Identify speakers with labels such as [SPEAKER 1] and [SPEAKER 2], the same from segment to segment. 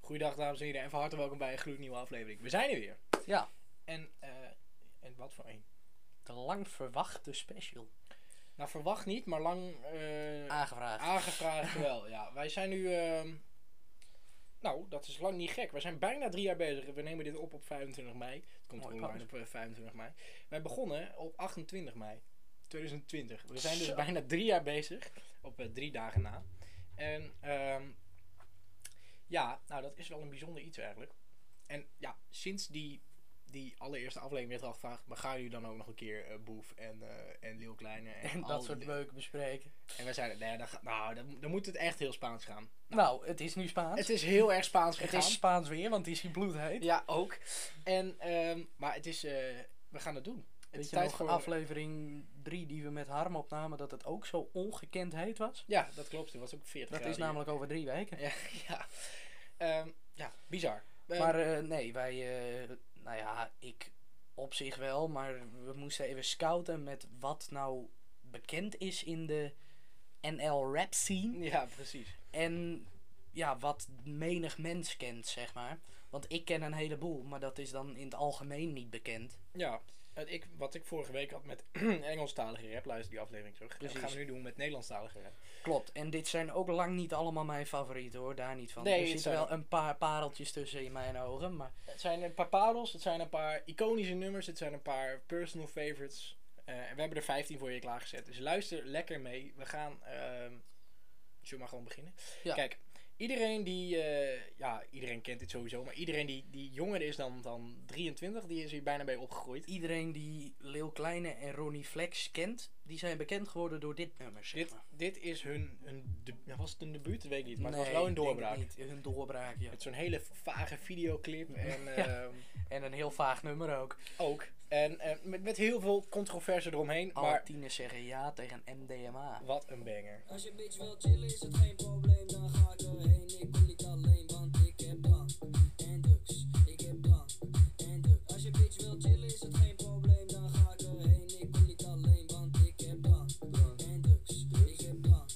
[SPEAKER 1] Goeiedag dames en heren en van harte welkom bij een gloednieuwe aflevering. We zijn er weer.
[SPEAKER 2] Ja.
[SPEAKER 1] En, eh, en wat voor een?
[SPEAKER 2] De lang verwachte special.
[SPEAKER 1] Nou verwacht niet, maar lang eh,
[SPEAKER 2] Aangevraagd.
[SPEAKER 1] aangevraagd wel. Ja, wij zijn nu... ehm, nou, dat is lang niet gek. We zijn bijna drie jaar bezig. We nemen dit op op 25 mei. Het komt
[SPEAKER 2] Mooi
[SPEAKER 1] online op
[SPEAKER 2] plan.
[SPEAKER 1] eh, 25 mei. Wij begonnen op 28 mei 2020. We zijn dus
[SPEAKER 2] Zo.
[SPEAKER 1] bijna drie jaar bezig. Op eh, drie dagen na. En ehm, ja, nou dat is wel een bijzonder iets eigenlijk. En ja, sinds die, die allereerste aflevering werd er al gevraagd... maar gaan jullie dan ook nog een keer eh, Boef en, eh en Leeuw Kleine... En,
[SPEAKER 2] en
[SPEAKER 1] al
[SPEAKER 2] dat soort
[SPEAKER 1] die-
[SPEAKER 2] leuke bespreken.
[SPEAKER 1] en wij zeiden, nee, dan, ga- nou, dan, dan moet het echt heel Spaans gaan.
[SPEAKER 2] Nou, het is nu Spaans.
[SPEAKER 1] Het is heel erg Spaans
[SPEAKER 2] Het
[SPEAKER 1] gegaan.
[SPEAKER 2] is Spaans weer, want het is hier bloedheet.
[SPEAKER 1] Ja, ook. En, ehm, maar het is, eh, we gaan het doen. Het
[SPEAKER 2] Weet
[SPEAKER 1] is
[SPEAKER 2] je
[SPEAKER 1] tijd
[SPEAKER 2] nog,
[SPEAKER 1] voor...
[SPEAKER 2] aflevering 3 die we met Harm opnamen, dat het ook zo ongekend heet was?
[SPEAKER 1] Ja, dat klopt. Het was ook 40
[SPEAKER 2] Dat
[SPEAKER 1] graden
[SPEAKER 2] is namelijk over drie weken.
[SPEAKER 1] hier. Ja, ja. Ehm, ja bizar. Ehm,
[SPEAKER 2] Maar eh, nee, wij, eh, nou ja, ik op zich wel, maar we moesten even scouten met wat nou bekend is in de NL rap scene.
[SPEAKER 1] Ja, precies.
[SPEAKER 2] En ja, wat menig mens kent, zeg maar. Want ik ken een heleboel, maar dat is dan in het algemeen niet bekend.
[SPEAKER 1] Ja, het, ik, wat ik vorige week had met Engelstalige rap, luister die aflevering terug. En
[SPEAKER 2] Precies.
[SPEAKER 1] Dat gaan we nu doen met Nederlandstalige rap.
[SPEAKER 2] Klopt, en dit zijn ook lang niet allemaal mijn favorieten hoor, daar niet van.
[SPEAKER 1] Nee,
[SPEAKER 2] er
[SPEAKER 1] het
[SPEAKER 2] zitten
[SPEAKER 1] zijn
[SPEAKER 2] wel
[SPEAKER 1] ook-
[SPEAKER 2] een paar pareltjes tussen in mijn ogen, maar
[SPEAKER 1] Het zijn een paar parels, het zijn een paar iconische nummers, het zijn een paar personal favorites. Eh, en we hebben er 15 voor je klaargezet. Dus luister lekker mee. We gaan. ehm zullen we maar gewoon beginnen?
[SPEAKER 2] Ja.
[SPEAKER 1] Kijk, iedereen die. eh, ja, iedereen kent dit sowieso. Maar iedereen die, die jonger is dan, dan 23, die is hier bijna bij opgegroeid.
[SPEAKER 2] iedereen die Leeuw Kleine en Ronnie Flex kent, die zijn bekend geworden door dit nummer, zeg
[SPEAKER 1] Dit,
[SPEAKER 2] maar.
[SPEAKER 1] dit is hun. hun de- ja, was het een debuut? Dat weet ik niet. Maar
[SPEAKER 2] Nee,
[SPEAKER 1] het was wel een
[SPEAKER 2] ik denk het
[SPEAKER 1] doorbraak.
[SPEAKER 2] niet. Hun doorbraak, ja.
[SPEAKER 1] Met zo'n hele vage videoclip. En ehm,
[SPEAKER 2] En een heel vaag nummer ook.
[SPEAKER 1] ook. En eh, met, met heel veel controverse eromheen.
[SPEAKER 2] Alle
[SPEAKER 1] Maar
[SPEAKER 2] tieners zeggen ja tegen MDMA.
[SPEAKER 1] wat een banger.
[SPEAKER 3] Als je bitch wil chillen is het geen probleem, dan ga ik erheen. Ik kom niet alleen, want ik heb blank en drugs. Ik heb blank en drugs. Als je bitch wil chillen is het geen probleem, dan ga ik erheen. Ik kom niet alleen, want ik heb blank en drugs. Ik heb blank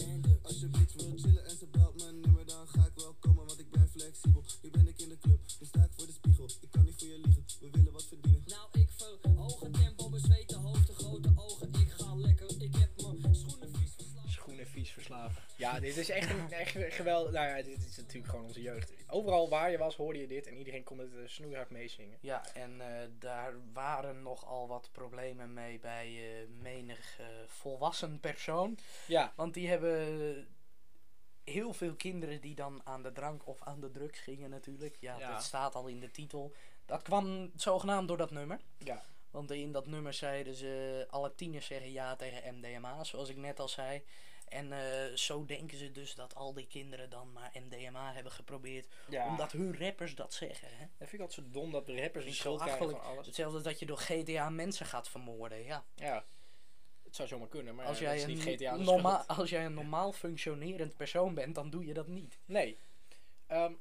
[SPEAKER 3] en drugs.
[SPEAKER 4] Als je bitch wil chillen en ze belt mijn nummer, dan ga ik wel komen, want ik ben flexibel. Nu ben ik in de club, nu sta ik voor de spiegel. Ik kan niet voor je liegen, we willen wat verdienen.
[SPEAKER 3] Nou, ik verhoog het tempo, bezweet de hoofd, de grote ogen. Ik ga lekker, ik heb mijn schoenen vies verslagen.
[SPEAKER 1] Schoenen vies verslaven. Ja, dit is echt, een- echt een geweldig. Nou ja, dit is natuurlijk gewoon onze jeugd. Overal waar je was hoorde je dit en iedereen kon het eh, snoeihard meezingen.
[SPEAKER 2] Ja, en eh, daar waren nogal wat problemen mee bij eh, menig eh, volwassen persoon.
[SPEAKER 1] Ja,
[SPEAKER 2] Want die hebben heel veel kinderen die dan aan de drank of aan de drugs gingen natuurlijk. Ja,
[SPEAKER 1] Ja.
[SPEAKER 2] dat staat al in de titel. Dat kwam zogenaamd door dat nummer.
[SPEAKER 1] ja,
[SPEAKER 2] Want in dat nummer zeiden ze, alle tieners zeggen ja tegen MDMA, zoals ik net al zei. En eh, zo denken ze dus dat al die kinderen dan maar MDMA hebben geprobeerd.
[SPEAKER 1] ja.
[SPEAKER 2] Omdat hun rappers dat zeggen, hè.
[SPEAKER 1] Dat vind ik altijd zo dom dat de rappers een
[SPEAKER 2] Vind ik
[SPEAKER 1] schuld
[SPEAKER 2] zo
[SPEAKER 1] krijgen van
[SPEAKER 2] achterlijk.
[SPEAKER 1] alles.
[SPEAKER 2] Hetzelfde dat je door GTA mensen gaat vermoorden. Ja.
[SPEAKER 1] Ja, het zou zomaar kunnen, maar
[SPEAKER 2] Als,
[SPEAKER 1] ja, dat
[SPEAKER 2] jij
[SPEAKER 1] is
[SPEAKER 2] een,
[SPEAKER 1] niet GTA de
[SPEAKER 2] norma-
[SPEAKER 1] schuld.
[SPEAKER 2] als jij een normaal functionerend persoon bent, dan doe je dat niet.
[SPEAKER 1] Nee. Ehm,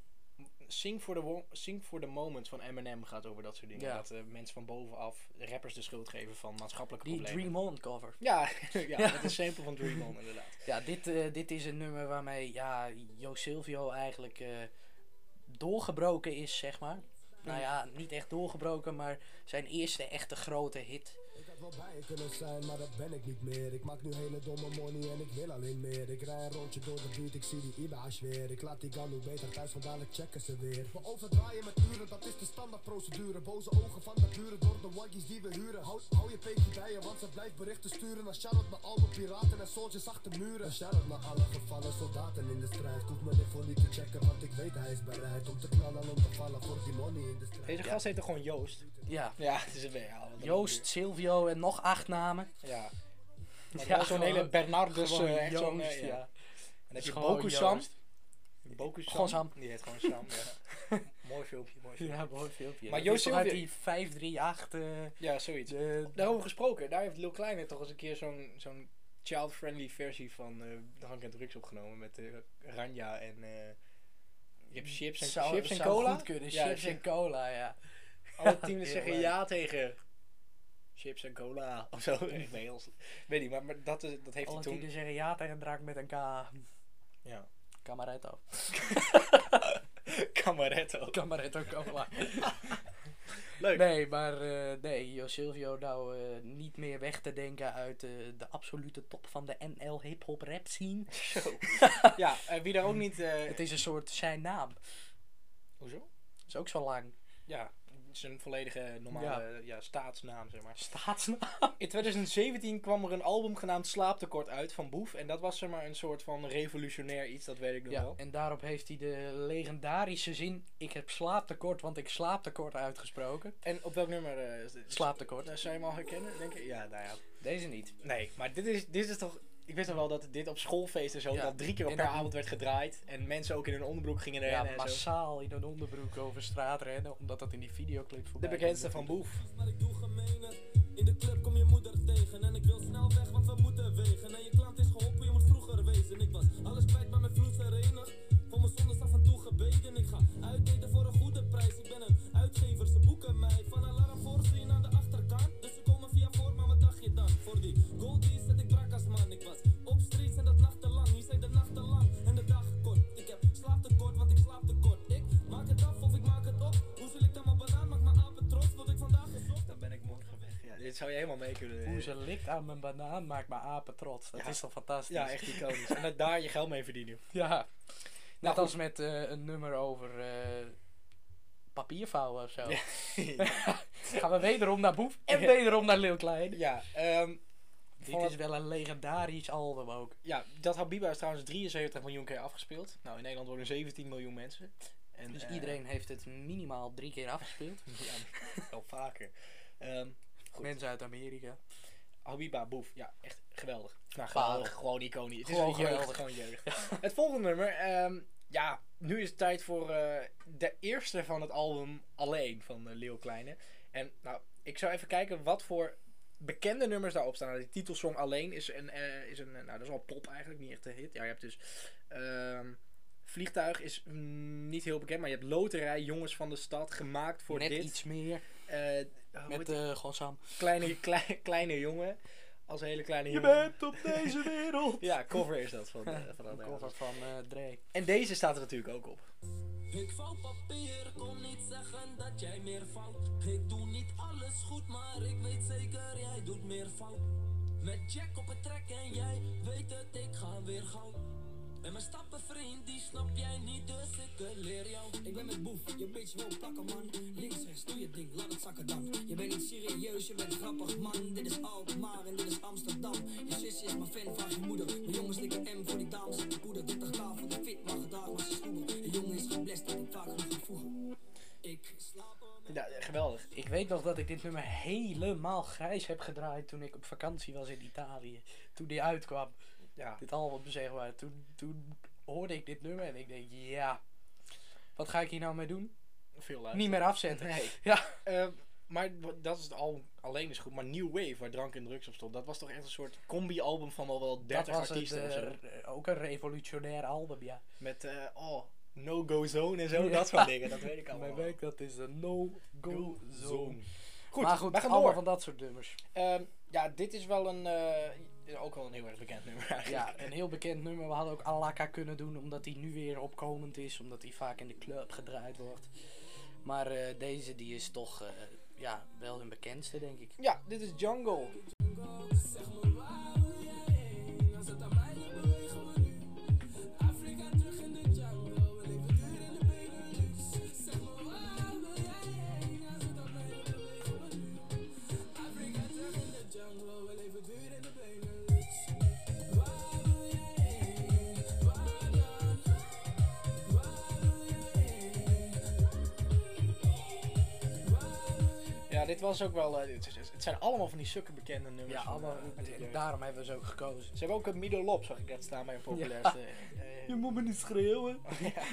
[SPEAKER 1] Sing for, the Wo- Sing for the Moment van Eminem gaat over dat soort dingen.
[SPEAKER 2] Ja.
[SPEAKER 1] Dat eh, mensen van bovenaf rappers de schuld geven van maatschappelijke
[SPEAKER 2] Die
[SPEAKER 1] problemen.
[SPEAKER 2] Dream On cover.
[SPEAKER 1] Ja, ja,
[SPEAKER 2] Ja.
[SPEAKER 1] dat is simpel van Dream On inderdaad.
[SPEAKER 2] Ja, dit, eh, dit is een nummer waarmee ja, Jo Silvio eigenlijk eh, doorgebroken is, zeg maar. Nou ja, niet echt doorgebroken, maar zijn eerste echte grote hit.
[SPEAKER 5] Ik had wel bij je kunnen zijn, maar dat ben ik niet meer. Ik maak nu hele domme money en ik wil alleen meer. Ik rij een rondje door de buurt, ik zie die Iba's weer. Ik laat die Ganu beter thuis, want dadelijk checken ze weer. We overdraaien met uren, dat is de standaardprocedure. Boze ogen van de buren door de waggies die we huren. Houd, hou je peekje bij je, want ze blijft berichten sturen. Naar shout-out naar alle piraten en soldiers achter muren. Een shout-out naar alle gevallen soldaten in de strijd. Hoef me ervoor niet te checken, want ik weet hij is bereid. Om te knallen, om te vallen voor die money in de strijd.
[SPEAKER 1] Deze gast heet toch gewoon Joost?
[SPEAKER 2] Ja,
[SPEAKER 1] Ja, het is een ja, wat een
[SPEAKER 2] Joost, Silvio en nog acht namen.
[SPEAKER 1] Ja. Maar
[SPEAKER 2] Ja,
[SPEAKER 1] wel zo'n
[SPEAKER 2] gewoon-
[SPEAKER 1] hele Bernardus.
[SPEAKER 2] gewoon
[SPEAKER 1] eh, echt zo'n,
[SPEAKER 2] Joost,
[SPEAKER 1] eh, ja.
[SPEAKER 2] ja.
[SPEAKER 1] En dan heb je
[SPEAKER 2] Gewoon
[SPEAKER 1] Boku Sam.
[SPEAKER 2] Joost.
[SPEAKER 1] Boku Sam.
[SPEAKER 2] Gewoon Sam.
[SPEAKER 1] Die heet gewoon Sam, ja. mooi filmpje, mooi filmpje.
[SPEAKER 2] Ja, mooi filmpje.
[SPEAKER 1] Maar
[SPEAKER 2] Dat
[SPEAKER 1] Jo
[SPEAKER 2] is toch uit
[SPEAKER 1] Silvio-
[SPEAKER 2] die 538... eh,
[SPEAKER 1] Ja, zoiets.
[SPEAKER 2] de-
[SPEAKER 1] Daarover gesproken, daar heeft Lil Kleine toch eens een keer zo'n zo'n child-friendly versie van eh Drank en Drugs opgenomen. Met eh, Ranja en... eh, je hebt chips en,
[SPEAKER 2] zou-
[SPEAKER 1] chips en
[SPEAKER 2] zou
[SPEAKER 1] cola. Oh,
[SPEAKER 2] goed kunnen,
[SPEAKER 1] Ja,
[SPEAKER 2] chips en cola, ja.
[SPEAKER 1] Alle tieners
[SPEAKER 2] Ja,
[SPEAKER 1] zeggen
[SPEAKER 2] maar-
[SPEAKER 1] ja tegen... Chips en cola of zo. Ik ben heel s- Weet niet, maar, maar dat, is, dat heeft
[SPEAKER 2] Alle
[SPEAKER 1] hij toen...
[SPEAKER 2] tieners zeggen ja tegen drank met een K.
[SPEAKER 1] Ja.
[SPEAKER 2] Camaretto.
[SPEAKER 1] Camaretto.
[SPEAKER 2] Camaretto Cola.
[SPEAKER 1] Leuk.
[SPEAKER 2] Nee, maar eh, nee, Jo Silvio nou eh, niet meer weg te denken uit eh, de absolute top van de NL hip-hop rap scene.
[SPEAKER 1] Zo. ja, eh, wie daar ook niet... eh,
[SPEAKER 2] Mm. Het is een soort zijn naam.
[SPEAKER 1] Hoezo?
[SPEAKER 2] Is ook zo lang.
[SPEAKER 1] Ja, zijn volledige eh, normale ja. staatsnaam, zeg maar.
[SPEAKER 2] Staatsnaam.
[SPEAKER 1] In 2017 kwam er een album genaamd Slaaptekort uit van Boef. En dat was zeg maar een soort van revolutionair iets, dat weet ik nog
[SPEAKER 2] Ja,
[SPEAKER 1] wel.
[SPEAKER 2] en daarop heeft hij de legendarische zin: Ik heb slaaptekort, want ik slaaptekort uitgesproken.
[SPEAKER 1] En op welk nummer? eh, is dit?
[SPEAKER 2] Slaaptekort.
[SPEAKER 1] Nou, zou je hem al herkennen, denk ik? Ja, nou ja.
[SPEAKER 2] Deze niet.
[SPEAKER 1] Nee, maar dit is, dit is toch... Ik wist nog wel dat dit op schoolfeesten zo
[SPEAKER 2] Ja,
[SPEAKER 1] dat drie keer
[SPEAKER 2] en
[SPEAKER 1] per
[SPEAKER 2] dan-
[SPEAKER 1] avond werd gedraaid. En mensen ook in hun onderbroek gingen
[SPEAKER 2] Ja,
[SPEAKER 1] rennen en zo.
[SPEAKER 2] massaal in een onderbroek over straat rennen, omdat dat in die videoclip
[SPEAKER 1] De
[SPEAKER 2] voorbij
[SPEAKER 1] bekendste van
[SPEAKER 2] kwam.
[SPEAKER 1] Boef.
[SPEAKER 3] maar ik doe gemene. In de club kom je moeder tegen en ik wil snel weg, want we moeten wegen. En je klant is geholpen, je moet vroeger wezen. Ik was alles kwijt bij mijn vloed erenig. Voor mijn zondes af en toe gebeden. Ik ga uitdelen voor een goede prijs. Ik ben een uitgever, ze boeken mij. Van alarm voor ze je aan de achterkant. Dus ze komen via voor, maar wat dacht je dan? Voor die goldies zet ik brak als man. Ik was op streets en dat nachtenlang. Hier zijn de nachten lang en de dagen kort. Ik heb slaaptekort, want ik slaap tekort. Ik maak het af of ik maak het op. Hoe zal ik dan mijn banaan? Maak mijn apen trots, wat ik vandaag gezocht.
[SPEAKER 1] Dan ben ik morgen weg. Ja, dit zou je helemaal mee kunnen. eh,
[SPEAKER 2] Hoe ze likt aan mijn banaan maakt me apen trots. Dat
[SPEAKER 1] Ja.
[SPEAKER 2] is toch fantastisch?
[SPEAKER 1] Ja, echt iconisch. en dat daar je geld mee verdienen.
[SPEAKER 2] Ja. Net
[SPEAKER 1] goed.
[SPEAKER 2] als met eh, een nummer over eh papiervouwen of zo.
[SPEAKER 1] Ja.
[SPEAKER 2] Gaan we wederom naar Boef en
[SPEAKER 1] Ja.
[SPEAKER 2] wederom naar Lil Klein.
[SPEAKER 1] ja, ehm,
[SPEAKER 2] Dit
[SPEAKER 1] van het-
[SPEAKER 2] is wel een legendarisch album ook.
[SPEAKER 1] ja, dat Habiba is trouwens 73 miljoen keer afgespeeld. Nou, in Nederland worden 17 miljoen mensen. En,
[SPEAKER 2] Dus
[SPEAKER 1] eh,
[SPEAKER 2] iedereen heeft het minimaal drie keer afgespeeld.
[SPEAKER 1] Ja, wel vaker. Ehm, Goed.
[SPEAKER 2] Mensen uit Amerika.
[SPEAKER 1] Habiba, boef. Ja, echt geweldig. Nou, geweldig. Gewoon iconisch. Het
[SPEAKER 2] Gewoon
[SPEAKER 1] is gewoon jeugd.
[SPEAKER 2] geweldig.
[SPEAKER 1] Gewoon jeugd. het volgende nummer. ehm, ja, nu is het tijd voor eh, de eerste van het album Alleen van eh, Leo Kleine. En nou, ik zou even kijken wat voor bekende nummers daarop staan. Nou, die titelsong Alleen is een, eh, is een eh, nou dat is al pop eigenlijk, niet echt een hit. Ja, je hebt dus ehm, Vliegtuig is mm, niet heel bekend, maar je hebt Loterij, Jongens van de Stad, gemaakt voor
[SPEAKER 2] Net
[SPEAKER 1] dit.
[SPEAKER 2] iets meer.
[SPEAKER 1] Eh, hoe heet
[SPEAKER 2] Met eh Gonzam.
[SPEAKER 1] kleine, klei- kleine jongen. Als een hele kleine
[SPEAKER 2] Je
[SPEAKER 1] jongen.
[SPEAKER 2] bent op deze wereld.
[SPEAKER 1] Ja, cover is dat van, eh, van dat
[SPEAKER 2] Een
[SPEAKER 1] album.
[SPEAKER 2] cover van eh Dre.
[SPEAKER 1] En deze staat er natuurlijk ook op.
[SPEAKER 3] Ik vouw papier, kom niet zeggen dat jij meer fout. Ik doe niet alles goed, maar ik weet zeker jij doet meer fout. Met Jack op het trek en jij weet het, ik ga weer gauw. En mijn stappen vriend, die snap jij niet, dus ik leer jou.
[SPEAKER 6] Ik ben met boef, je bitch wil plakken man Links, rechts, doe je ding, laat het zakken dan Je bent niet serieus, je bent grappig man Dit is Alkmaar en dit is Amsterdam Je zusje is mijn fan, vraag je moeder Mijn jongens likken M voor die dames op de poeder 30k van de fit, maar gedaag maar ze snoeber Een jongen is geblest, dat ik vaker nog ga voegen Ik slaap om
[SPEAKER 1] Ja, geweldig.
[SPEAKER 2] Ik weet nog dat ik dit nummer helemaal grijs heb gedraaid toen ik op vakantie was in Italië. Toen die uitkwam.
[SPEAKER 1] Ja.
[SPEAKER 2] dit album, zeg maar. Toen, toen hoorde ik dit nummer en ik denk, ja, wat ga ik hier nou mee doen?
[SPEAKER 1] Veel luisteren.
[SPEAKER 2] Niet meer afzetten.
[SPEAKER 1] Nee.
[SPEAKER 2] Ja.
[SPEAKER 1] Ehm, maar wa- dat is het album alleen is goed. Maar New Wave, waar drank en drugs op stond, dat was toch echt een soort combi-album van al wel
[SPEAKER 2] Dat
[SPEAKER 1] 30
[SPEAKER 2] was het,
[SPEAKER 1] artiesten
[SPEAKER 2] eh,
[SPEAKER 1] of zo.
[SPEAKER 2] r- ook een revolutionair album, ja.
[SPEAKER 1] Met, eh, oh, no-go zone en zo,
[SPEAKER 2] Ja.
[SPEAKER 1] dat soort dingen. Dat weet ik allemaal.
[SPEAKER 2] Mijn werk, dat is een no-go zone.
[SPEAKER 1] Goed,
[SPEAKER 2] maar goed,
[SPEAKER 1] we gaan
[SPEAKER 2] allemaal
[SPEAKER 1] door.
[SPEAKER 2] van dat soort nummers.
[SPEAKER 1] Ehm, ja, dit is wel een, eh, ook wel een heel erg bekend nummer eigenlijk.
[SPEAKER 2] Ja, een heel bekend nummer. We hadden ook Alaka kunnen doen, omdat die nu weer opkomend is. Omdat die vaak in de club gedraaid wordt. Maar eh, deze, die is toch eh, ja, wel hun bekendste, denk ik.
[SPEAKER 1] Ja, dit is Jungle.
[SPEAKER 3] Zeg me waar wil jij heen? Als het aan mij ligt, bewegen we nu. Afrika terug in de jungle, we leven duur in de Benelux. Zeg me waar wil jij heen? Als het aan mij ligt, bewegen we nu. Afrika terug in de jungle, we leven duur in de Benelux. Waar wil jij heen? Waar dan? Waar wil jij heen?
[SPEAKER 1] Ja, dit was ook wel. eh, het, is- het zijn allemaal van die sukken bekende nummers.
[SPEAKER 2] Ja,
[SPEAKER 1] van,
[SPEAKER 2] allemaal,
[SPEAKER 1] eh, uit die
[SPEAKER 2] en
[SPEAKER 1] jeugd.
[SPEAKER 2] daarom hebben we ze ook gekozen.
[SPEAKER 1] Ze hebben ook een Mido Lop, zag ik dat staan bij een populairste. eh,
[SPEAKER 2] moet me niet schreeuwen.
[SPEAKER 1] ja.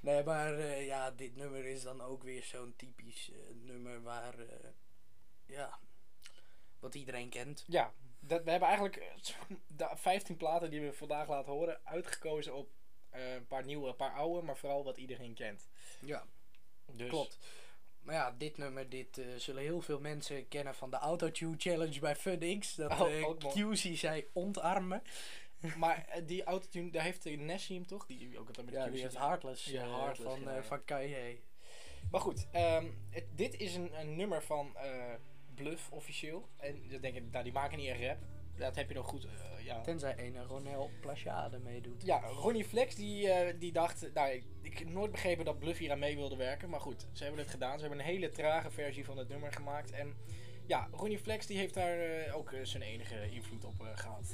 [SPEAKER 2] Nee, maar eh, ja, dit nummer is dan ook weer zo'n typisch eh, nummer waar, eh, ja, wat iedereen kent.
[SPEAKER 1] Ja, dat, we hebben eigenlijk eh, zo'n- da- 15 platen die we vandaag laten horen uitgekozen op eh, een paar nieuwe, een paar oude, maar vooral wat iedereen kent.
[SPEAKER 2] Ja,
[SPEAKER 1] Dus,
[SPEAKER 2] klopt. Maar ja, dit nummer, dit eh, zullen heel veel mensen kennen van de Autotune Challenge bij FunX. Dat
[SPEAKER 1] Oh,
[SPEAKER 2] eh,
[SPEAKER 1] ook mooi.
[SPEAKER 2] QC zei ontarmen.
[SPEAKER 1] Maar eh, die autotune, daar heeft eh, Nessie hem toch? Die ook het
[SPEAKER 2] Ja, die heeft Heartless,
[SPEAKER 1] Ja,
[SPEAKER 2] eh,
[SPEAKER 1] Heartless
[SPEAKER 2] van,
[SPEAKER 1] gedaan,
[SPEAKER 2] eh,
[SPEAKER 1] ja.
[SPEAKER 2] van Kanye.
[SPEAKER 1] Maar goed, ehm, het- dit is een, een nummer van eh, Bluff officieel. En dan denk ik, nou, die maken niet echt rap. Dat heb je nog goed. eh, ja.
[SPEAKER 2] Tenzij ene Ronel Plachade meedoet.
[SPEAKER 1] ja, Ronnie Flex die, eh, die dacht, nou ik, ik heb nooit begrepen dat Bluff hier aan mee wilde werken. Maar goed, ze hebben het gedaan. Ze hebben een hele trage versie van het nummer gemaakt. En ja, Ronnie Flex die heeft daar eh, ook eh, zijn enige invloed op eh, gehad.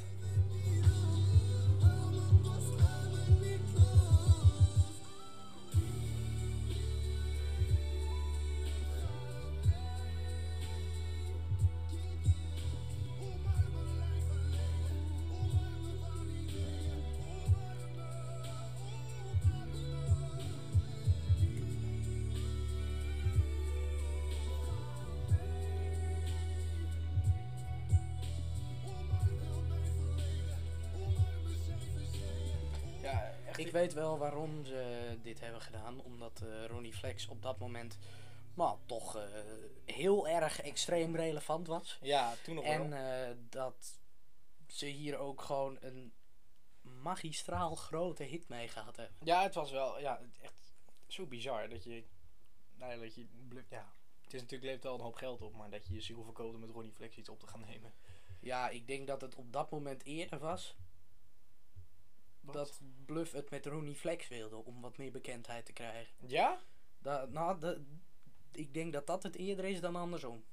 [SPEAKER 1] Ja, echt.
[SPEAKER 2] Ik weet wel waarom ze dit hebben gedaan. Omdat eh, Ronnie Flex op dat moment maar toch eh, heel erg extreem relevant was.
[SPEAKER 1] Ja, toen nog
[SPEAKER 2] En
[SPEAKER 1] wel.
[SPEAKER 2] eh, dat ze hier ook gewoon een magistraal grote hit mee gehad hebben.
[SPEAKER 1] Ja, het was wel ja, het- echt zo bizar dat je. Nou ja, dat je blu- ja. Het is natuurlijk leeft wel een hoop geld op, maar dat je je ziel verkoopt om met Ronnie Flex iets op te gaan nemen.
[SPEAKER 2] Ja, ik denk dat het op dat moment eerder was dat Bluff het met Ronnie Flex wilde om wat meer bekendheid te krijgen.
[SPEAKER 1] Ja?
[SPEAKER 2] Da- nou, da- ik denk dat dat het eerder is dan andersom.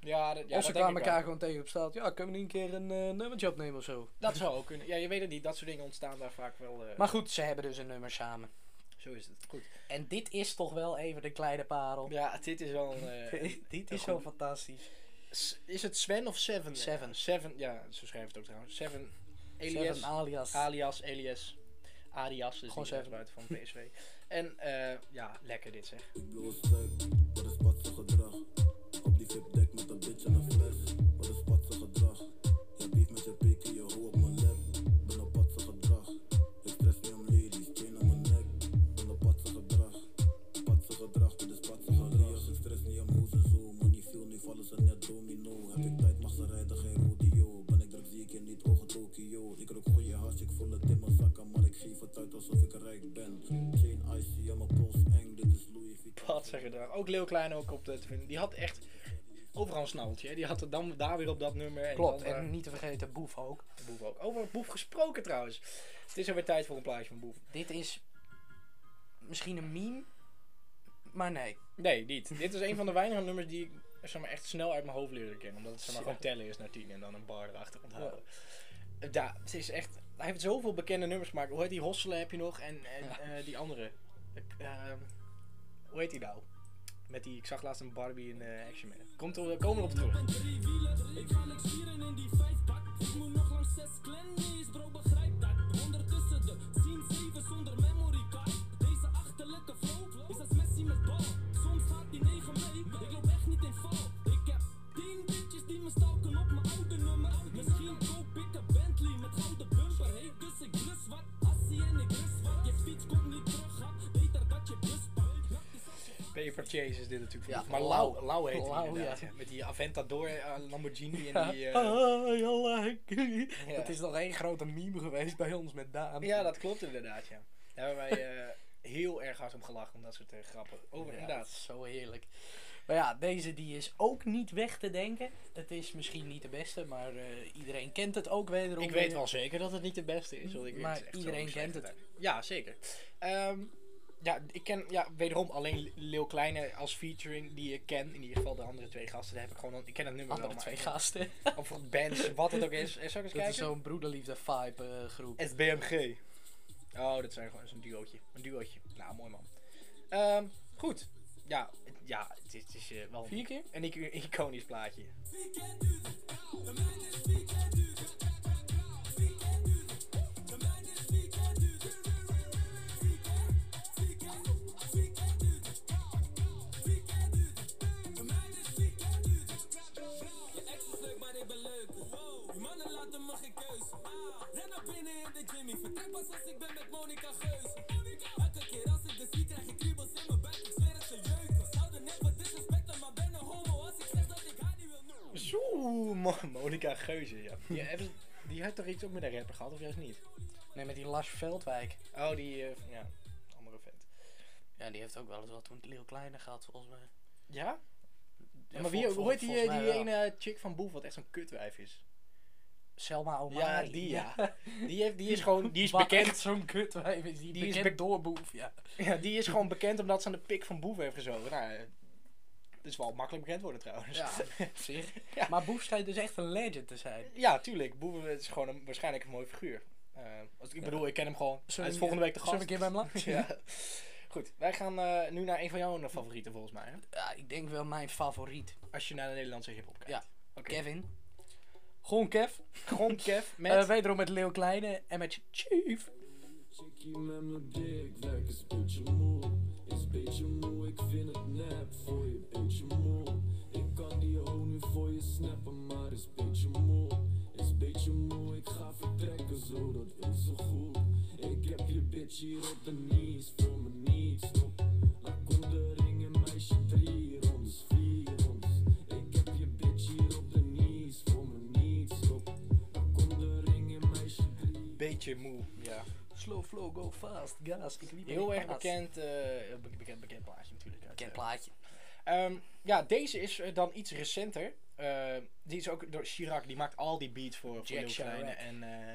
[SPEAKER 1] Ja, dat, ja
[SPEAKER 2] of ze
[SPEAKER 1] dat denk
[SPEAKER 2] kwamen
[SPEAKER 1] ik wel.
[SPEAKER 2] elkaar gewoon tegen op straat. Ja, kunnen we niet een keer een eh, nummertje opnemen of zo?
[SPEAKER 1] Dat zou ook kunnen. Ja, je weet het niet. Dat soort dingen ontstaan daar vaak wel. eh,
[SPEAKER 2] Maar goed, ze hebben dus een nummer samen.
[SPEAKER 1] zo is het. Goed.
[SPEAKER 2] En dit is toch wel even de kleine parel.
[SPEAKER 1] Ja, dit is wel. eh,
[SPEAKER 2] dit
[SPEAKER 1] een
[SPEAKER 2] is zo
[SPEAKER 1] goed-
[SPEAKER 2] fantastisch.
[SPEAKER 1] S- is het Sven of Seven?
[SPEAKER 2] Seven.
[SPEAKER 1] Seven, ja, zo schrijft het ook trouwens. Seven. Elias.
[SPEAKER 2] Seven alias.
[SPEAKER 1] alias, Elias. Arias, dus
[SPEAKER 2] Gewoon
[SPEAKER 1] die
[SPEAKER 2] Seven.
[SPEAKER 1] buiten van PSV. en eh, ja, lekker dit zeg.
[SPEAKER 3] Ik blow een spek, wat is patse gedrag? Op die VIP-dek met een bitch en een fles, wat is patse gedrag? Je beef met je pik en je hoe op mijn lap, ben op patse gedrag. Ik stress niet om ladies, chain om mijn nek, ben op patse gedrag. Patse gedrag, dit is patse gedrag. Ik stress niet om hoes en zo, money veel, nu vallen ze net domino. Heb ik tijd, mag ze rijden, geen rodeo. Ben ik druk, zie ik je niet, ogen Tokio. Ik rook goede hash, ik voel het in mijn zakken, maar ik geef het uit alsof ik rijk ben. Chain icy, aan mijn pols eng, dit is Louis Vuitton.
[SPEAKER 1] Wat zijn gedrag. Ook Leeuw Klein ook op de te vinden. Die had echt overal een snaltje. hè. Die had het dan daar weer op dat nummer. En
[SPEAKER 2] Klopt,
[SPEAKER 1] dan daar-
[SPEAKER 2] en niet te vergeten Boef ook.
[SPEAKER 1] Boef ook. Over Boef gesproken trouwens. Het is alweer tijd voor een plaatje van Boef.
[SPEAKER 2] Dit is misschien een meme, maar nee.
[SPEAKER 1] Nee, niet. Dit is een van de weinige nummers die ik zeg maar, echt snel uit mijn hoofd leerde kennen. Omdat het zeg maar,
[SPEAKER 2] Ja.
[SPEAKER 1] gewoon tellen is naar tien en dan een bar erachter onthouden. Ja. het is echt... Hij heeft zoveel bekende nummers gemaakt. Hoe heet die? Hosselen heb je nog. En, en
[SPEAKER 2] Ja.
[SPEAKER 1] eh, die andere. Ik, ehm, hoe heet die nou? Met die... Ik zag laatst een Barbie in eh, Action Man. Komt er, komen we op terug.
[SPEAKER 3] drie wielen. Ik ga niks vieren in die vijfpak. Ik moet nog langs zes klennies, bro, begrijp dat. Ondertussen de zien zeven zonder memory card. Deze achterlijke flow is als Messi met bal. Soms gaat die negen mee, ik loop echt niet in val. Ik heb tien bitches die me stalken op mijn oude nummer. Misschien koop ik een Bentley met gouden bumper. Hey, dus ik lust wat, assie en ik rust wat. Je fiets komt niet terug, hap. Beter dat je bus pakt.
[SPEAKER 1] Paper Chase is dit natuurlijk.
[SPEAKER 2] Ja,
[SPEAKER 1] Ja, maar
[SPEAKER 2] Lau.
[SPEAKER 1] Lau, Lau heet
[SPEAKER 2] Lau,
[SPEAKER 1] hij inderdaad.
[SPEAKER 2] ja.
[SPEAKER 1] ja. Met die Aventador eh, Lamborghini en
[SPEAKER 2] Ja.
[SPEAKER 1] die... eh,
[SPEAKER 2] Ah, ja, like.
[SPEAKER 1] Ja.
[SPEAKER 2] Dat is nog één grote meme geweest bij ons met Daan.
[SPEAKER 1] Ja, dat klopt inderdaad, ja. Daar hebben wij eh, heel erg hard om gelachen, om dat soort eh, grappen. Oh,
[SPEAKER 2] Ja, dat
[SPEAKER 1] inderdaad.
[SPEAKER 2] is zo heerlijk. Maar ja, deze die is ook niet weg te denken. Het is misschien niet de beste, maar eh, iedereen kent het ook wederom.
[SPEAKER 1] Ik weet
[SPEAKER 2] weer.
[SPEAKER 1] wel zeker dat het niet de beste is. Want ik
[SPEAKER 2] Maar
[SPEAKER 1] het is echt
[SPEAKER 2] iedereen
[SPEAKER 1] zo'n slechte
[SPEAKER 2] kent het.
[SPEAKER 1] tijd. Ja, zeker. Ehm, ja, ik ken ja, wederom alleen Leeuw Kleine als featuring die ik ken. In ieder geval de andere twee gasten. Daar heb ik gewoon een- ik ken het nummer
[SPEAKER 2] Andere
[SPEAKER 1] wel.
[SPEAKER 2] twee
[SPEAKER 1] maar-
[SPEAKER 2] gasten.
[SPEAKER 1] Of bands, wat het ook is. Eh, Zal ik eens
[SPEAKER 2] Dat
[SPEAKER 1] kijken?
[SPEAKER 2] is zo'n broederliefde vibe eh, groep.
[SPEAKER 1] SBMG. Oh, dat zijn gewoon zo'n duootje. Een duootje. Nou, mooi man. Ehm, goed. Ja, het- ja het is, het is eh, wel
[SPEAKER 2] Vier keer?
[SPEAKER 1] een ic- iconisch plaatje.
[SPEAKER 3] Je ex is leuk, maar ik ben leuk. Wow, die mannen laten me geen keus. Ah, ren naar binnen in de Jimmy. Vertrek pas als ik ben met Monica Geus. Elke keer als ik de zie, krijg ik kriebels in mijn buik. Ik zweer het te jeuken. Ze houden net wat disrespect aan, maar ben een homo. Als ik zeg dat ik haar niet wil noemen.
[SPEAKER 1] Zo, Mo- Monica Geuze, ja. ja even- Die had toch iets ook met een rapper gehad, of juist niet?
[SPEAKER 2] Nee, met die Lars Veldwijk.
[SPEAKER 1] Oh, die, eh, ja, andere vent.
[SPEAKER 2] Ja, die heeft ook wel eens wat met Lil Kleine gehad, volgens mij.
[SPEAKER 1] Ja?
[SPEAKER 2] Ja,
[SPEAKER 1] maar
[SPEAKER 2] vol-
[SPEAKER 1] wie,
[SPEAKER 2] vol-
[SPEAKER 1] hoe heet die,
[SPEAKER 2] volgens
[SPEAKER 1] eh,
[SPEAKER 2] mij
[SPEAKER 1] die
[SPEAKER 2] wel.
[SPEAKER 1] ene chick van Boef, wat echt zo'n kutwijf is?
[SPEAKER 2] Selma
[SPEAKER 1] Ja,
[SPEAKER 2] Omari.
[SPEAKER 1] die ja. Die, heeft, die is gewoon, die is
[SPEAKER 2] Wat
[SPEAKER 1] bekend.
[SPEAKER 2] echt Zo'n kutwijf is die,
[SPEAKER 1] Die is
[SPEAKER 2] bekend
[SPEAKER 1] bek-
[SPEAKER 2] doorboef, ja.
[SPEAKER 1] Ja, die is gewoon bekend omdat ze aan de pik van Boef heeft gezogen. Nou, eh, het is wel makkelijk bekend worden trouwens.
[SPEAKER 2] Ja, op zich.
[SPEAKER 1] Ja.
[SPEAKER 2] Maar Boef schijnt dus echt een legend te zijn.
[SPEAKER 1] Ja, tuurlijk. Boef is gewoon een, waarschijnlijk een mooi figuur. Eh, als, ik bedoel, ik ken hem gewoon. Hij is volgende week de gast.
[SPEAKER 2] Zullen we een keer bij hem langs?
[SPEAKER 1] ja. Goed, wij gaan eh, nu naar een van jouw favorieten volgens mij. Hè?
[SPEAKER 2] Ja, ik denk wel mijn favoriet.
[SPEAKER 1] Als je naar de Nederlandse hip-hop kijkt.
[SPEAKER 2] Ja.
[SPEAKER 1] Oké.
[SPEAKER 2] Kevin. Gewoon Kev.
[SPEAKER 1] Gewoon Kev met.
[SPEAKER 2] Eh, wederom met Leeuw Kleine en met Chief.
[SPEAKER 3] Chickie met mijn dik weg is beetje moe. Is beetje moe, ik vind het nep voor je beetje moe. Ik kan die hoe nu voor je snappen, maar is beetje moe. Is beetje moe, ik ga vertrekken zo, dat is zo goed. Ik heb je bitch hier op de knees, voor me niets stop. Laat kom de ring en meisje drie rondes, vier rondes. Ik heb je bitch hier op de knees, voor me niets stop. Laat kom de ring en meisje drie
[SPEAKER 1] Beetje moe. Ja.
[SPEAKER 2] Slow flow, go fast, gas. Ik liep
[SPEAKER 1] Heel
[SPEAKER 2] in
[SPEAKER 1] erg
[SPEAKER 2] pas.
[SPEAKER 1] bekend, eh, be- bekend, bekend plaatje natuurlijk. uit,
[SPEAKER 2] Bekend
[SPEAKER 1] eh,
[SPEAKER 2] plaatje.
[SPEAKER 1] Ehm, ja, deze is eh, dan iets recenter. Eh, die is ook door Chirac, die maakt al die beats voor, voor
[SPEAKER 2] Jack
[SPEAKER 1] Lil Kleine
[SPEAKER 2] Chirac.
[SPEAKER 1] en, eh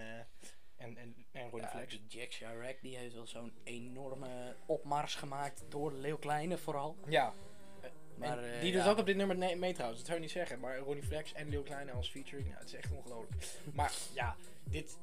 [SPEAKER 1] en, en, en Ronnie
[SPEAKER 2] Ja,
[SPEAKER 1] Flex.
[SPEAKER 2] die Jack Chirac die heeft wel zo'n enorme opmars gemaakt door Leeuw Kleine vooral.
[SPEAKER 1] Ja,
[SPEAKER 2] Maar,
[SPEAKER 1] En
[SPEAKER 2] eh,
[SPEAKER 1] die doet
[SPEAKER 2] ja.
[SPEAKER 1] ook op dit nummer nee- mee trouwens, dat zou je niet zeggen. Maar Ronnie Flex en Lil Kleine als featuring, nou, het is echt ongelooflijk. maar ja, dit,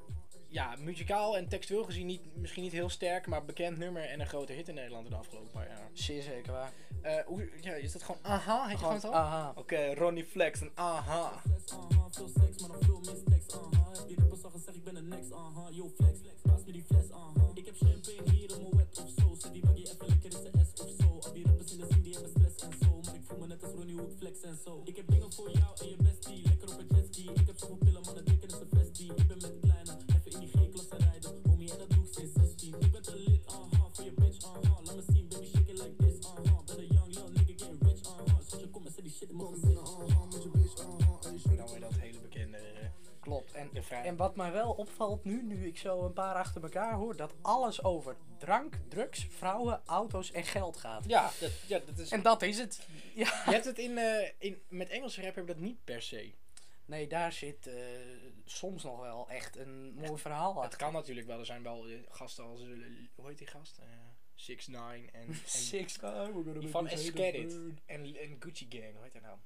[SPEAKER 1] ja, muzikaal en textueel gezien niet, misschien niet heel sterk, maar bekend nummer en een grote hit in Nederland de afgelopen paar jaar.
[SPEAKER 2] Zeer zeker waar.
[SPEAKER 1] Eh, hoe, ja, is dat gewoon aha? Heet je gewoon
[SPEAKER 2] Gewoon,
[SPEAKER 1] het al?
[SPEAKER 2] aha.
[SPEAKER 1] Oké, Ronnie Flex en aha.
[SPEAKER 3] flex, aha. Veel seks, maar nog veel mistakes, uh-huh. aha. Heb je rappers al gezegd, ik ben een next, aha. Yo, flex, uh-huh. pas me die fles, aha. Ik heb champagne hier om mijn wet of zo. Zet die buggy even lekker in zijn S of zo. Al die rappers in de scene, die hebben stress en zo. Maar ik voel me net als Ronnie hoe ik flex en zo. Ik heb dingen voor jou en je bestie. Lekker op een jetski. Ik heb zoveel pillen, maar dat dikke is een vestie. Ik ben met kleine, even in die G-klasse rijden. Homie, en dat doe ik sinds 16. Ik ben te lit, aha. Voor je bitch, aha. Laat me zien, baby, shake it like this, aha. Ben een young, little nigga, getting rich, uh-huh. aha. Zet je kom en zet die shit in mijn
[SPEAKER 7] Kom
[SPEAKER 3] gezicht.
[SPEAKER 7] binnen,
[SPEAKER 5] uh-huh.
[SPEAKER 7] aha, met je bitch, aha. En je
[SPEAKER 1] En
[SPEAKER 7] zweert
[SPEAKER 1] dan weer
[SPEAKER 7] het
[SPEAKER 1] dat hele bekende. eh,
[SPEAKER 2] Klopt. En,
[SPEAKER 1] De vraag-
[SPEAKER 2] en wat mij wel opvalt nu, nu ik zo een paar achter elkaar hoor, dat alles over drank, drugs, vrouwen, auto's en geld gaat.
[SPEAKER 1] Ja, dat, ja, dat is.
[SPEAKER 2] En dat is het. Ja.
[SPEAKER 1] je hebt het in, eh, in. Met Engelse rap hebben we dat niet per se.
[SPEAKER 2] Nee, daar zit eh, soms nog wel echt een mooi verhaal
[SPEAKER 1] Het
[SPEAKER 2] achter.
[SPEAKER 1] kan natuurlijk wel. Er zijn wel eh, gasten als. eh, hoe heet die gast? Eh Six Nine en. en
[SPEAKER 2] Six
[SPEAKER 1] die van Escadit. En, en Gucci Gang, hoe heet dat nou?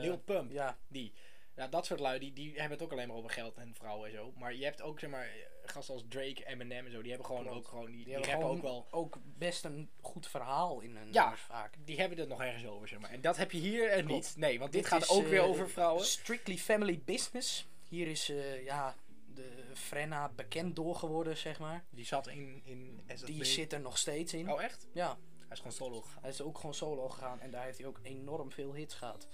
[SPEAKER 1] Lil Pump.
[SPEAKER 2] Eh, Ja,
[SPEAKER 1] Die. Ja, dat soort lui, die, die hebben het ook alleen maar over geld en vrouwen en zo. Maar je hebt ook, zeg maar, eh, gasten als Drake, Eminem en zo. Die hebben gewoon
[SPEAKER 2] Klopt.
[SPEAKER 1] ook gewoon. Die,
[SPEAKER 2] die,
[SPEAKER 1] die,
[SPEAKER 2] hebben
[SPEAKER 1] rappen
[SPEAKER 2] gewoon
[SPEAKER 1] ook wel.
[SPEAKER 2] ook best een goed verhaal in hun
[SPEAKER 1] Ja.
[SPEAKER 2] nummers vaak.
[SPEAKER 1] Die hebben het nog ergens over, zeg maar. En dat heb je hier eh,
[SPEAKER 2] Klopt.
[SPEAKER 1] niet. Nee, want dit,
[SPEAKER 2] Dit
[SPEAKER 1] gaat
[SPEAKER 2] is,
[SPEAKER 1] ook weer
[SPEAKER 2] eh,
[SPEAKER 1] over vrouwen.
[SPEAKER 2] Strictly Family Business. Hier is eh, ja, de Frenna bekend door geworden, zeg maar.
[SPEAKER 1] Die zat in, in SFB.
[SPEAKER 2] Die zit er nog steeds in.
[SPEAKER 1] Oh, echt?
[SPEAKER 2] Ja,
[SPEAKER 1] Hij is gewoon solo gegaan.
[SPEAKER 2] hij is ook gewoon solo gegaan en daar heeft hij ook enorm veel hits gehad.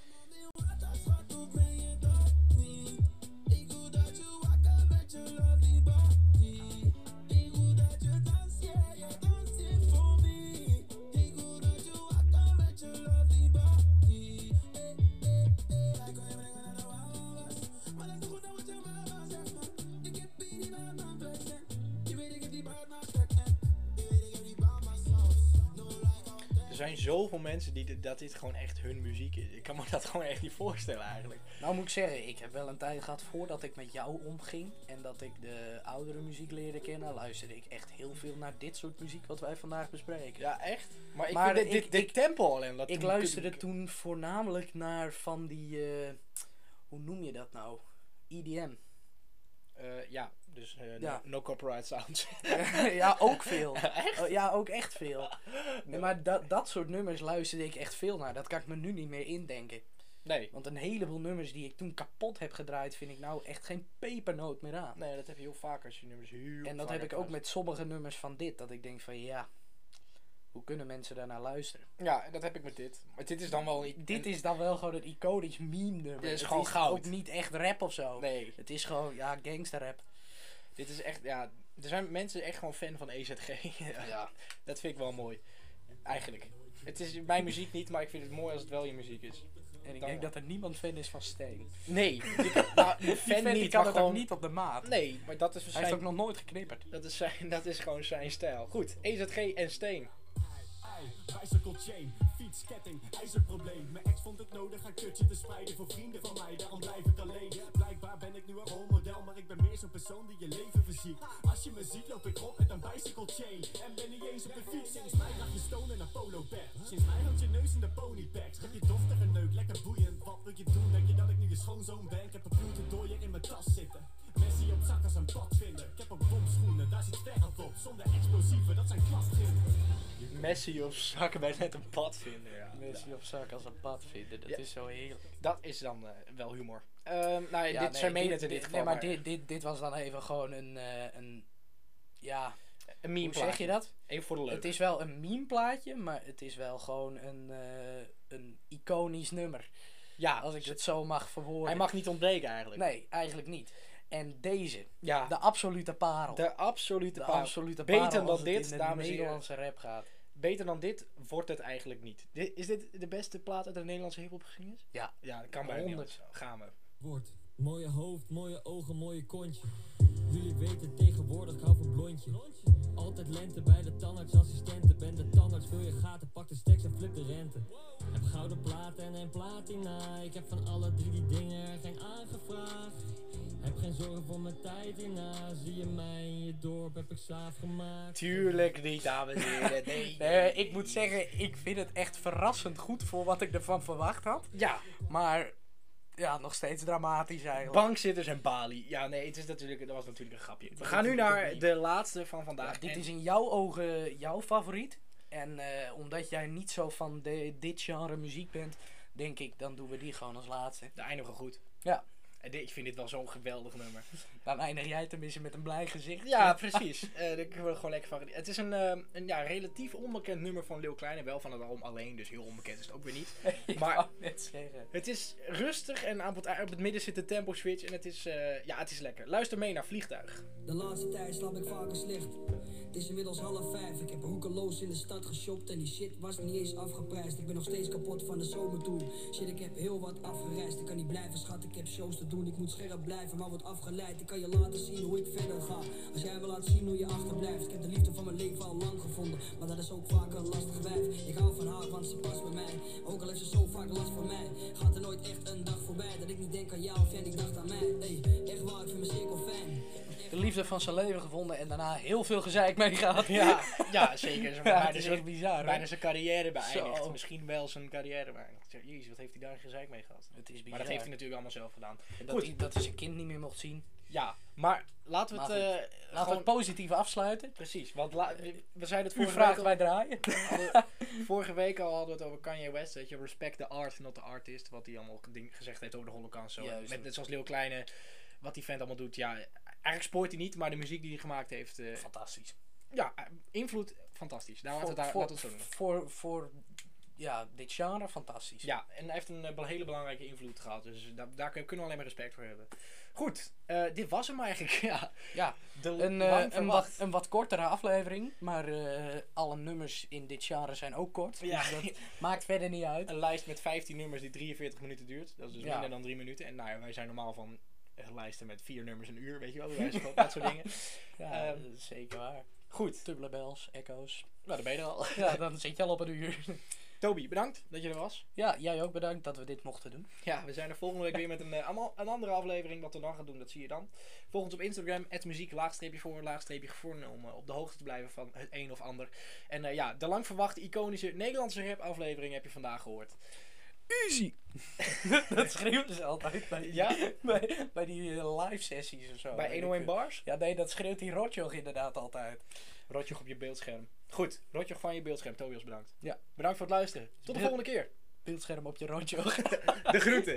[SPEAKER 1] Er zijn zoveel mensen die dit- dat dit gewoon echt hun muziek is. Ik kan me dat gewoon echt niet voorstellen eigenlijk.
[SPEAKER 2] Nou moet ik zeggen, ik heb wel een tijd gehad voordat ik met jou omging en dat ik de oudere muziek leerde kennen, luisterde ik echt heel veel naar dit soort muziek wat wij vandaag bespreken.
[SPEAKER 1] Ja, echt. Maar ik
[SPEAKER 2] Maar
[SPEAKER 1] vind dit,
[SPEAKER 2] ik-
[SPEAKER 1] dit, dit
[SPEAKER 2] ik-
[SPEAKER 1] tempo alleen. Dat
[SPEAKER 2] ik luisterde toen voornamelijk naar van die, eh, hoe noem je dat nou? EDM.
[SPEAKER 1] Eh, ja, dus eh, no-
[SPEAKER 2] Ja.
[SPEAKER 1] No, copyright sounds.
[SPEAKER 2] ja, ook veel. Oh, Ja, ook echt veel. Nee, maar dat, dat soort nummers luisterde ik echt veel naar. Dat kan ik me nu niet meer indenken.
[SPEAKER 1] nee.
[SPEAKER 2] Want een heleboel nummers die ik toen kapot heb gedraaid, vind ik nou echt geen pepernoot meer aan.
[SPEAKER 1] Nee, dat heb je heel vaak als je nummers heel
[SPEAKER 2] En dat
[SPEAKER 1] vaak
[SPEAKER 2] heb ik
[SPEAKER 1] hebt
[SPEAKER 2] ook met sommige nummers van dit. Dat ik denk van ja, hoe kunnen mensen daarnaar luisteren?
[SPEAKER 1] geluisterd. Ja, en dat heb ik met dit. Maar dit is dan wel... i-
[SPEAKER 2] Dit
[SPEAKER 1] en-
[SPEAKER 2] is dan wel gewoon een iconisch meme nummer.
[SPEAKER 1] Dit is
[SPEAKER 2] Het
[SPEAKER 1] gewoon goud.
[SPEAKER 2] ook niet echt rap of zo.
[SPEAKER 1] Nee,
[SPEAKER 2] Het is gewoon, ja, gangster rap.
[SPEAKER 1] dit E is echt... Ja, er zijn mensen echt gewoon fan van EZG. ja. Dat vind ik wel mooi. Eigenlijk. Het is mijn muziek niet, maar ik vind het mooi als het wel je muziek is.
[SPEAKER 2] En ik
[SPEAKER 1] Dan-
[SPEAKER 2] denk dat er niemand fan is van Steen.
[SPEAKER 1] Nee, ik, nou,
[SPEAKER 2] Die
[SPEAKER 1] fan
[SPEAKER 2] fan die
[SPEAKER 1] niet,
[SPEAKER 2] kan
[SPEAKER 1] maar
[SPEAKER 2] het
[SPEAKER 1] gewoon...
[SPEAKER 2] ook niet op de maat.
[SPEAKER 1] Nee, maar dat is
[SPEAKER 2] Hij heeft ook
[SPEAKER 1] waarschijnlijk...
[SPEAKER 2] nog nooit geknipperd.
[SPEAKER 1] Dat is, zijn, dat is gewoon zijn stijl. Goed, EZG en Steen.
[SPEAKER 5] Ei, bicycle chain, fiets, ketting, ijzerprobleem. Mijn ex vond het nodig haar kutje te spreiden voor vrienden van mij, daarom blijf ik alleen. Blijkbaar ben ik nu een rolmodel, maar ik ben meer zo'n persoon die je leven verziekt. Als je me ziet, loop ik rond met een bicycle chain. En ben niet eens op de fiets, sinds mij lag je stonen naar polo bag. Sinds mij had je neus in de ponypack. Schep je dochter een neuk, lekker boeiend. Wat wil je doen? Denk je dat ik nu je schoonzoon ben? Ik heb een bloedendooier in mijn tas zitten. Messi op zak als een padvinder. Ik heb ook bomschoenen, daar zit sterren op. Zonder explosieven, dat zijn klapgilden.
[SPEAKER 1] Messi of zakken bij net een pad vinden, ja.
[SPEAKER 2] Mensen op zak als een pad vinden, dat
[SPEAKER 1] Ja.
[SPEAKER 2] is zo heerlijk.
[SPEAKER 1] Dat is dan eh, wel humor. Ehm nou ja,
[SPEAKER 2] Ja,
[SPEAKER 1] dit,
[SPEAKER 2] nee,
[SPEAKER 1] zij meen het in dit
[SPEAKER 2] dit-
[SPEAKER 1] geval.
[SPEAKER 2] Nee, maar
[SPEAKER 1] maar
[SPEAKER 2] dit, dit, dit was dan even gewoon een, eh, een ja,
[SPEAKER 1] een eh, meme
[SPEAKER 2] hoe zeg je
[SPEAKER 1] plaatje.
[SPEAKER 2] dat?
[SPEAKER 1] Even voor de leuk.
[SPEAKER 2] Het is wel een meme plaatje, maar het is wel gewoon een, eh, een iconisch nummer.
[SPEAKER 1] ja,
[SPEAKER 2] Als ik het zo dus mag verwoorden.
[SPEAKER 1] hij mag niet ontbreken eigenlijk.
[SPEAKER 2] Nee, eigenlijk niet. En deze,
[SPEAKER 1] Ja,
[SPEAKER 2] de absolute parel.
[SPEAKER 1] nou, oh. de absolute
[SPEAKER 2] De
[SPEAKER 1] parel. Beter
[SPEAKER 2] absolute parel als
[SPEAKER 1] dan dit,
[SPEAKER 2] het in de
[SPEAKER 1] dames en heren.
[SPEAKER 2] Nederlandse rap gaat.
[SPEAKER 1] Beter dan dit wordt het eigenlijk niet. Di- is dit de beste plaat uit de Nederlandse hip-hop geschiedenis?
[SPEAKER 2] Ja.
[SPEAKER 1] Ja, dat kan bijna niet.
[SPEAKER 2] 100.
[SPEAKER 1] anders. Gaan we.
[SPEAKER 3] Wordt. Mooie hoofd, mooie ogen, mooie kontje. Jullie weten tegenwoordig, ik hou van blondje. Altijd lente bij de tandartsassistenten. Ben de tandarts, vul je gaten, pak de stacks en flip de rente. Heb gouden platen en een platina. Ik heb van alle drie die dingen er geen aangevraagd. Heb geen zorgen voor mijn tijd hierna. Zie je mij in je dorp, heb ik slaaf gemaakt.
[SPEAKER 1] Tuurlijk niet, dames en heren. Nee.
[SPEAKER 2] Eh, ik moet zeggen, ik vind het echt verrassend goed voor wat ik ervan verwacht had.
[SPEAKER 1] Ja,
[SPEAKER 2] Maar ja, nog steeds dramatisch eigenlijk.
[SPEAKER 1] bankzitters en Bali. Ja, nee, het is natuurlijk, dat was natuurlijk een grapje. We gaan nu naar de laatste van vandaag.
[SPEAKER 2] Ja, Nou, dit
[SPEAKER 1] En-
[SPEAKER 2] is in jouw ogen jouw favoriet. En eh, omdat jij niet zo van de, dit genre muziek bent, denk ik, dan doen we die gewoon als laatste.
[SPEAKER 1] De eindigen goed.
[SPEAKER 2] Ja.
[SPEAKER 1] En dit- ik vind dit wel zo'n geweldig nummer.
[SPEAKER 2] Dan eindig jij tenminste met een blij gezicht.
[SPEAKER 1] Ja, precies. Eh daar kunnen we gewoon lekker van genieten. Het is een, eh, een ja, relatief onbekend nummer van Leeuw Kleine. Wel van het album alleen, dus heel onbekend is het ook weer niet.
[SPEAKER 2] ik
[SPEAKER 1] maar-
[SPEAKER 2] wou net zeggen.
[SPEAKER 1] Het is rustig en aan het, op het midden zit de tempo switch. En het is, eh, ja, het is lekker. Luister mee naar Vliegtuig.
[SPEAKER 6] De laatste tijd slaap ik vaker slecht. Het is inmiddels half vijf. Ik heb hoekeloos in de stad geshopt en die shit was niet eens afgeprijsd. Ik ben nog steeds kapot van de zomertour. Shit, ik heb heel wat afgereisd. Ik kan niet blijven, schat. Ik heb shows te doen. Ik moet scherp blijven, maar word afgeleid. Ik kan je laten zien hoe ik verder ga. Als jij me laat zien hoe je achterblijft. Ik heb de liefde van mijn leven al lang gevonden. Maar dat is ook vaak een lastig wijf. Ik hou van haar, want ze past bij mij. Ook al heeft ze zo vaak last van mij. Gaat er nooit echt een dag voorbij dat ik niet denk aan jou of jij niet dacht aan mij. Hey, echt waar, ik vind mijn cirkel fijn.
[SPEAKER 2] De liefde van zijn leven gevonden en daarna heel veel gezeik mee gehad.
[SPEAKER 1] Ja, ja zeker. Zo,
[SPEAKER 2] Ja,
[SPEAKER 1] bijna,
[SPEAKER 2] het is echt
[SPEAKER 1] zijn,
[SPEAKER 2] bizar. hoor.
[SPEAKER 1] bijna zijn carrière beëindigd.
[SPEAKER 2] Zo.
[SPEAKER 1] Misschien wel zijn carrière beëindigd. Zeg, Jezus, wat heeft hij daar gezeik mee gehad?
[SPEAKER 2] Het is bizar.
[SPEAKER 1] Maar dat heeft hij natuurlijk allemaal zelf gedaan.
[SPEAKER 2] dat,
[SPEAKER 1] Goed.
[SPEAKER 2] hij, dat hij zijn kind niet meer mocht zien.
[SPEAKER 1] Ja, maar laten we het...
[SPEAKER 2] Maar goed.
[SPEAKER 1] eh,
[SPEAKER 2] Laten we
[SPEAKER 1] gewoon-
[SPEAKER 2] het positief afsluiten.
[SPEAKER 1] Precies, want la- we- we zeiden het
[SPEAKER 2] Eh, U
[SPEAKER 1] vorige week,
[SPEAKER 2] vraagt,
[SPEAKER 1] al,
[SPEAKER 2] wij draaien.
[SPEAKER 1] hadden- vorige week al hadden we het over Kanye West, weet je, respect the art, not the artist, wat hij allemaal ding, gezegd heeft over de holocaust. Zo.
[SPEAKER 2] Juist.
[SPEAKER 1] Met, net zoals Leeuw Kleine, wat die vent allemaal doet, ja, eigenlijk spoort hij niet, maar de muziek die hij gemaakt heeft, eh,
[SPEAKER 2] Fantastisch.
[SPEAKER 1] ja, eh, invloed, fantastisch. Nou, laten we
[SPEAKER 2] Voor,
[SPEAKER 1] het daar- laten
[SPEAKER 2] voor,
[SPEAKER 1] we het zo doen.
[SPEAKER 2] voor, voor ja, dit genre, fantastisch.
[SPEAKER 1] Ja, en hij heeft een eh, be- hele belangrijke invloed gehad, dus daar, daar kunnen we alleen maar respect voor hebben. Goed, eh, dit was hem eigenlijk, ja.
[SPEAKER 2] Ja,
[SPEAKER 1] De
[SPEAKER 2] Een, eh,
[SPEAKER 1] lang
[SPEAKER 2] een,
[SPEAKER 1] verwacht-
[SPEAKER 2] wat, een wat kortere aflevering, maar eh, alle nummers in dit genre zijn ook kort.
[SPEAKER 1] Ja.
[SPEAKER 2] Dus dat maakt verder niet uit.
[SPEAKER 1] een lijst met 15 nummers die 43 minuten duurt. Dat is dus
[SPEAKER 2] Ja.
[SPEAKER 1] minder dan 3 minuten. En nou ja, wij zijn normaal van eh, lijsten met 4 nummers een uur, weet je wel. bij wijze van- Dat soort dingen.
[SPEAKER 2] Ja,
[SPEAKER 1] Ehm,
[SPEAKER 2] dat is zeker waar.
[SPEAKER 1] Goed,
[SPEAKER 2] Tubla bells, echo's.
[SPEAKER 1] nou dan ben je er al.
[SPEAKER 2] Ja, dan zit je al op een uur.
[SPEAKER 1] Toby, bedankt dat je er was.
[SPEAKER 2] Ja, jij ook bedankt dat we dit mochten doen.
[SPEAKER 1] Ja, we zijn er volgende week weer met een, eh, allemaal- een andere aflevering. Wat we dan gaan doen, dat zie je dan. Volg ons op Instagram, muziek, laagstreepje voor, laagstreepje gevonden. Om eh, op de hoogte te blijven van het een of ander. En eh, ja, de lang verwachte iconische Nederlandse rap aflevering heb je vandaag gehoord.
[SPEAKER 2] Easy! dat schreeuwden ze altijd bij,
[SPEAKER 1] Ja?
[SPEAKER 2] bij, bij die eh, live sessies of zo.
[SPEAKER 1] Bij
[SPEAKER 2] weet Oh, ik
[SPEAKER 1] 101
[SPEAKER 2] veel.
[SPEAKER 1] Bars.
[SPEAKER 2] Ja, nee, dat schreeuwt die Rotjoch inderdaad altijd.
[SPEAKER 1] Rotjoch op je beeldscherm. Goed, Rotjoch van je beeldscherm. Tobias, bedankt.
[SPEAKER 2] Ja.
[SPEAKER 1] Bedankt voor het luisteren. Tot de
[SPEAKER 2] Ja.
[SPEAKER 1] volgende keer.
[SPEAKER 2] Beeldscherm op je Rotjoch.
[SPEAKER 1] De groeten.